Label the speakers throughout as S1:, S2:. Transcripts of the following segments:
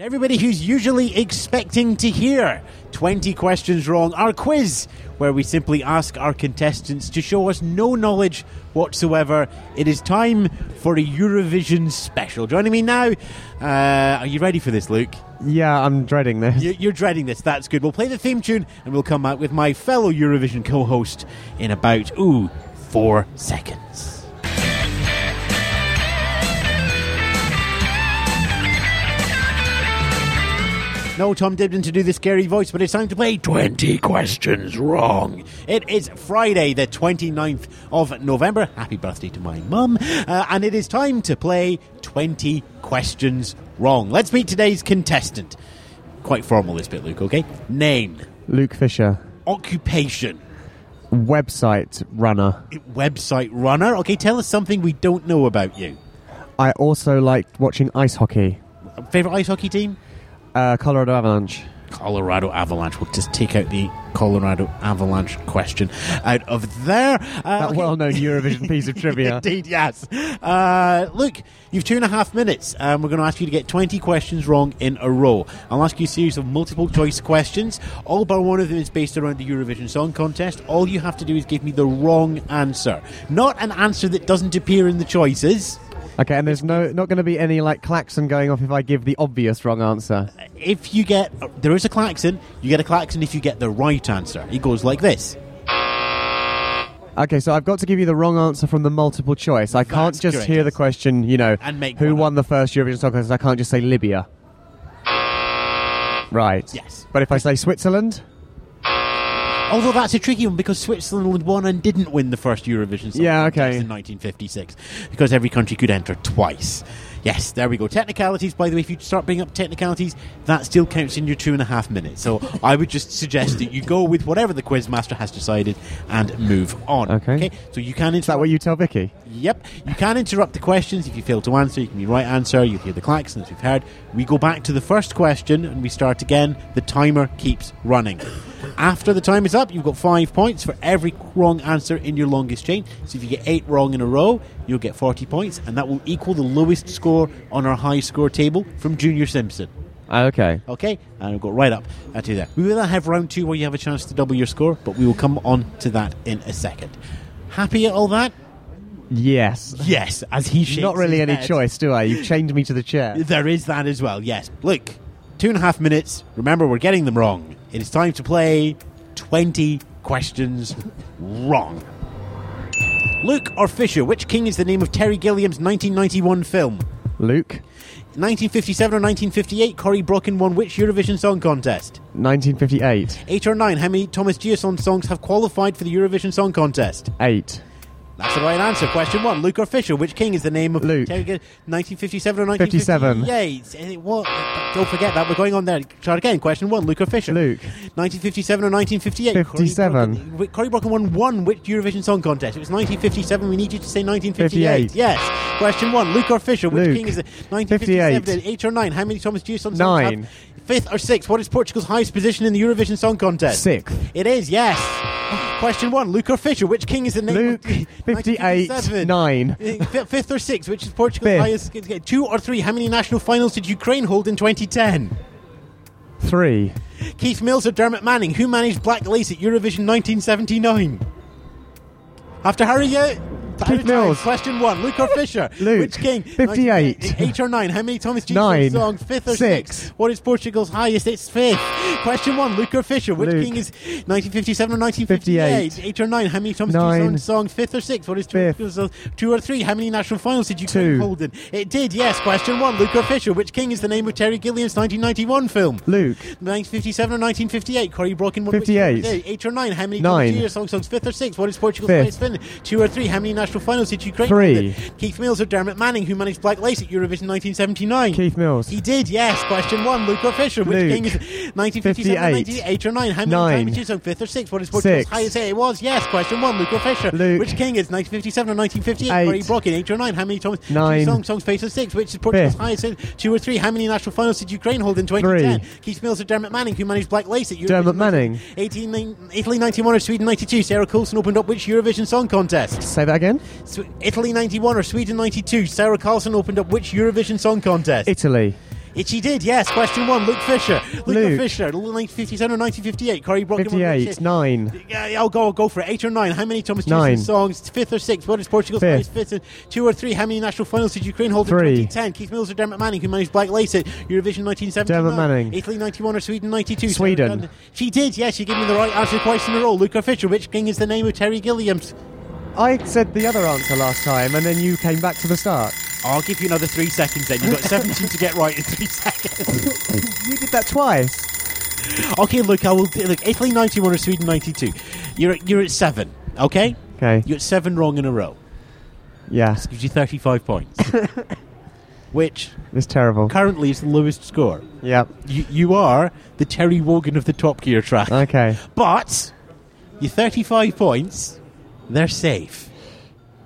S1: Everybody who's usually expecting to hear 20 questions wrong, our quiz, where we simply ask our contestants to show us no knowledge whatsoever. It is time for a Eurovision special. Joining me now, uh, are you ready for this, Luke?
S2: Yeah, I'm dreading this.
S1: You- You're dreading this. That's good. We'll play the theme tune and we'll come out with my fellow Eurovision co host in about, ooh, four seconds. No Tom Dibden to do the scary voice, but it's time to play 20 Questions Wrong. It is Friday, the 29th of November. Happy birthday to my mum. Uh, and it is time to play 20 Questions Wrong. Let's meet today's contestant. Quite formal, this bit, Luke, okay? Name,
S2: Luke Fisher,
S1: occupation,
S2: website runner.
S1: website runner. Okay, tell us something we don't know about you.
S2: I also liked watching ice hockey.
S1: Favorite ice hockey team?
S2: Uh, Colorado Avalanche.
S1: Colorado Avalanche. We'll just take out the Colorado Avalanche question out of there. Uh,
S2: That
S1: okay.
S2: well-known Eurovision piece of trivia.
S1: Indeed, yes. Uh, Luke, you've two and a half minutes, and we're going to ask you to get 20 questions wrong in a row. I'll ask you a series of multiple choice questions. All but one of them is based around the Eurovision Song Contest. All you have to do is give me the wrong answer. Not an answer that doesn't appear in the choices.
S2: Okay, and there's no not going to be any like klaxon going off if I give the obvious wrong answer.
S1: If you get, there is a klaxon, you get a klaxon if you get the right answer. It goes like this.
S2: Okay, so I've got to give you the wrong answer from the multiple choice. I can't
S1: That's
S2: just
S1: correct,
S2: hear the
S1: yes.
S2: question, you know,
S1: And make
S2: who
S1: one
S2: won the first Eurovision Song Contest. I can't just say Libya. Right.
S1: Yes.
S2: But if I say Switzerland,
S1: Although that's a tricky one because Switzerland won and didn't win the first Eurovision Song
S2: Yeah,
S1: Contest
S2: okay.
S1: in 1956 because every country could enter twice. Yes, there we go. Technicalities, by the way, if you start bringing up technicalities, that still counts in your two and a half minutes. So I would just suggest that you go with whatever the quiz master has decided and move on.
S2: Okay.
S1: So you can
S2: is that
S1: interrupt.
S2: what you tell Vicky?
S1: Yep. You can interrupt the questions if you fail to answer. You can be right answer. You hear the klaxon as we've heard. We go back to the first question and we start again. The timer keeps running. After the time is up, you've got five points for every wrong answer in your longest chain. So if you get eight wrong in a row, you'll get 40 points, and that will equal the lowest score on our high score table from Junior Simpson.
S2: Okay.
S1: Okay, and we've got right up uh, to there. We will have round two where you have a chance to double your score, but we will come on to that in a second. Happy at all that?
S2: Yes.
S1: Yes, as he shakes
S2: Not really
S1: his
S2: any
S1: head.
S2: choice, do I? You've chained me to the chair.
S1: There is that as well. Yes, Luke, two and a half minutes. Remember, we're getting them wrong. It is time to play twenty questions wrong. Luke or Fisher? Which king is the name of Terry Gilliam's 1991 film?
S2: Luke,
S1: 1957 or 1958? Corey Brocken won which Eurovision Song Contest?
S2: 1958.
S1: Eight or nine? How many Thomas Giasson songs have qualified for the Eurovision Song Contest?
S2: Eight.
S1: That's the right answer. Question one: Luke or Fisher? Which king is the name of
S2: Luke.
S1: Terry Gill- 1957 or
S2: 57.
S1: 1958? Yeah, what? Don't forget that we're going on there. Try again. Question one: Luke or Fisher?
S2: Luke.
S1: 1957 or 1958?
S2: 57.
S1: Corey Brocken- Corey Brocken won one which Eurovision Song Contest? It was 1957. We need you to say 1958.
S2: 58.
S1: Yes. Question one: Luke or Fisher? Which
S2: Luke.
S1: king is the 1957?
S2: 58.
S1: Eight or nine? How many Thomas Dewey songs?
S2: Nine.
S1: Have? Fifth or sixth? What is Portugal's highest position in the Eurovision Song Contest?
S2: Sixth.
S1: It is, yes. Question one, Luke or Fisher? Which king is the name
S2: Luke,
S1: of
S2: 58,
S1: 1957?
S2: 9.
S1: Fi- Fifth or sixth, which is Portugal's
S2: Fifth.
S1: highest? Two or three? How many national finals did Ukraine hold in 2010?
S2: 3.
S1: Keith Mills or Dermot Manning? Who managed Black Lace at Eurovision 1979? Have to hurry out. Out of time.
S2: Mills.
S1: Question one, Luke or Fisher?
S2: Luke,
S1: Which king?
S2: 58.
S1: Nineteen- Eight or nine? How many Thomas G.
S2: Nine.
S1: songs? Fifth or
S2: Six.
S1: sixth? What is Portugal's highest? It's fifth. Question one, Luke or Fisher? Which
S2: Luke.
S1: king is 1957 or 1958? Eight or nine? How many Thomas
S2: Nine.
S1: G. songs? Fifth or sixth? What is
S2: Fifth.
S1: Portugal's two or three? How many national finals did Ukraine
S2: Two.
S1: hold in? It did, yes. Question one, Luke or Fisher? Which king is the name of Terry Gilliam's 1991 film?
S2: Luke,
S1: 1957 or 1958? Corey Brocken won
S2: 58.
S1: Which, eight or nine? How many
S2: Nine.
S1: Year song songs? Fifth or sixth? What is Portugal's
S2: Fifth.
S1: highest Finland? Two or three? How many national finals did Ukraine
S2: Three.
S1: win? Keith Mills or Dermot Manning, who managed Black Lace at Eurovision 1979?
S2: Keith Mills,
S1: He did, yes. Question one, Luke or Fisher? Which
S2: Luke.
S1: king is 1957 or
S2: 58.
S1: 1988 or 9? How many
S2: Nine.
S1: times did you song? Fifth or sixth? What is Portugal's
S2: Six.
S1: highest? It was, yes. Question one, Luke or Fisher?
S2: Luke.
S1: Which king is 1957 or 1958?
S2: Eight.
S1: Corey Brocken, eight or nine? How many times?
S2: Nine.
S1: Songs, songs, face of six. Which is Portugal's
S2: Fifth.
S1: highest? Two or three? How many national finals did Ukraine hold in 2010?
S2: Three.
S1: Keith Mills or Dermot Manning, who managed Black Lace at Eurovision?
S2: Dermot Manning.
S1: 18, Italy 91 or Sweden 92? Sarah Coulson opened up which Eurovision Song Contest?
S2: say that again.
S1: Sw- Italy 91 or Sweden 92? Sarah Carlson opened up which Eurovision Song Contest?
S2: Italy,
S1: Itchy did, yes. Question one, Luke Fisher. Luke,
S2: Luke.
S1: Fisher, 1957 or 1958. Corey Brock.
S2: 58, 9.
S1: Yeah, I'll go. I'll go for it. eight or nine. How many Thomas
S2: Nine.
S1: Jefferson songs? Fifth or sixth? What is Portugal's
S2: Fifth.
S1: highest fifth? and Two or three? How many national finals did Ukraine hold
S2: Three.
S1: in 2010? Keith Mills or Dermot Manning, who managed Black Lace it? Eurovision 1979.
S2: Dermot Manning.
S1: Italy 91 or Sweden 92.
S2: Sweden.
S1: Sarah Dunn- She did. Yes, she gave me the right answer twice in a row. Luca Fisher. Which king is the name of Terry Gilliam's?
S2: I said the other answer last time, and then you came back to the start.
S1: I'll give you another three seconds. Then you've got 17 to get right in three seconds.
S2: You did that twice.
S1: Okay, Luke. I will. do- Look, Italy 91 or Sweden 92. You're at, you're at seven. Okay.
S2: Okay.
S1: You got seven wrong in a row.
S2: Yeah,
S1: Gives you 35 points. Which
S2: it's terrible.
S1: currently is the lowest score.
S2: Yep.
S1: You, you are the Terry Wogan of the Top Gear track.
S2: Okay.
S1: But your 35 points, they're safe.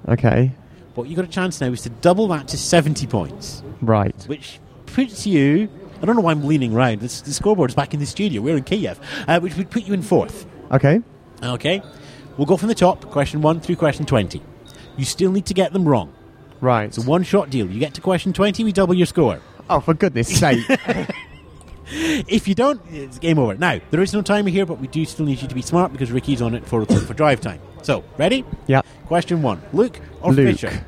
S2: Okay.
S1: What you got a chance now is to double that to 70 points,
S2: Right.
S1: which puts you. I don't know why I'm leaning round. This, the scoreboard's back in the studio. We're in Kiev, uh, which would put you in fourth.
S2: Okay.
S1: Okay? We'll go from the top, question one through question 20. You still need to get them wrong.
S2: Right.
S1: It's a one shot deal. You get to question 20, we double your score.
S2: Oh, for goodness sake.
S1: If you don't, it's game over. Now, there is no timer here, but we do still need you to be smart because Ricky's on it for for drive time. So, ready?
S2: yep.
S1: Question one Luke or
S2: Luke.
S1: Fisher?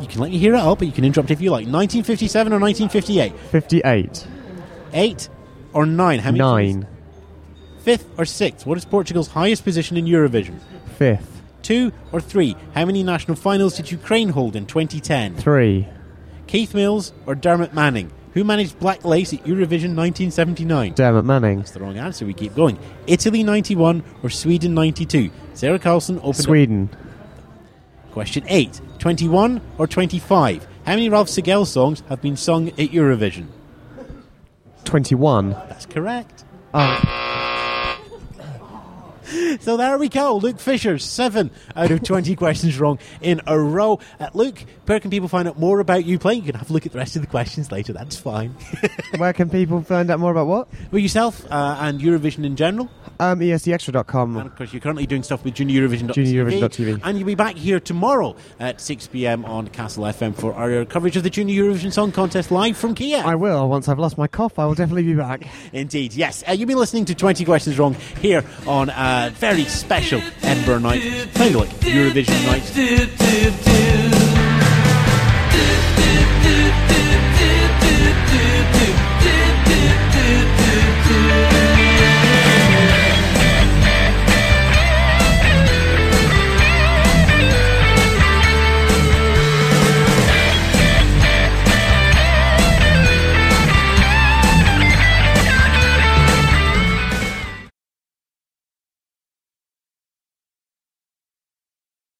S1: You can let me hear it out, but you can interrupt if you like. 1957 or 1958?
S2: 58.
S1: Eight or nine? How many?
S2: 9.
S1: Fifth or sixth? What is Portugal's highest position in Eurovision?
S2: 5th.
S1: Two or three? How many national finals did Ukraine hold in 2010?
S2: 3.
S1: Keith Mills or Dermot Manning? Who managed Black Lace at Eurovision 1979?
S2: Dermot Manning.
S1: That's the wrong answer. We keep going. Italy 91 or Sweden 92? Sarah Carlson opened
S2: Sweden.
S1: up question 8. 21 or 25? How many Ralph Sigel songs have been sung at Eurovision?
S2: 21.
S1: That's correct.
S2: Oh,
S1: So there we go. Luke Fisher, 7 out of 20 questions wrong in a row. Uh, Luke, where can people find out more about you playing? You can have a look at the rest of the questions later. That's fine.
S2: where can people find out more about what?
S1: well, yourself uh, and Eurovision in general. And
S2: Um, ESDExtra.com.
S1: of course, you're currently doing stuff with Junior Eurovision.
S2: Junior Eurovision.tv.
S1: And you'll be back here tomorrow at 6 pm on Castle FM for our coverage of the Junior Eurovision Song Contest live from Kiev.
S2: I will. Once I've lost my cough, I will definitely be back.
S1: Indeed, yes. Uh, you've been listening to 20 Questions Wrong here on a very special Edinburgh night, playing like Eurovision night.
S3: do do do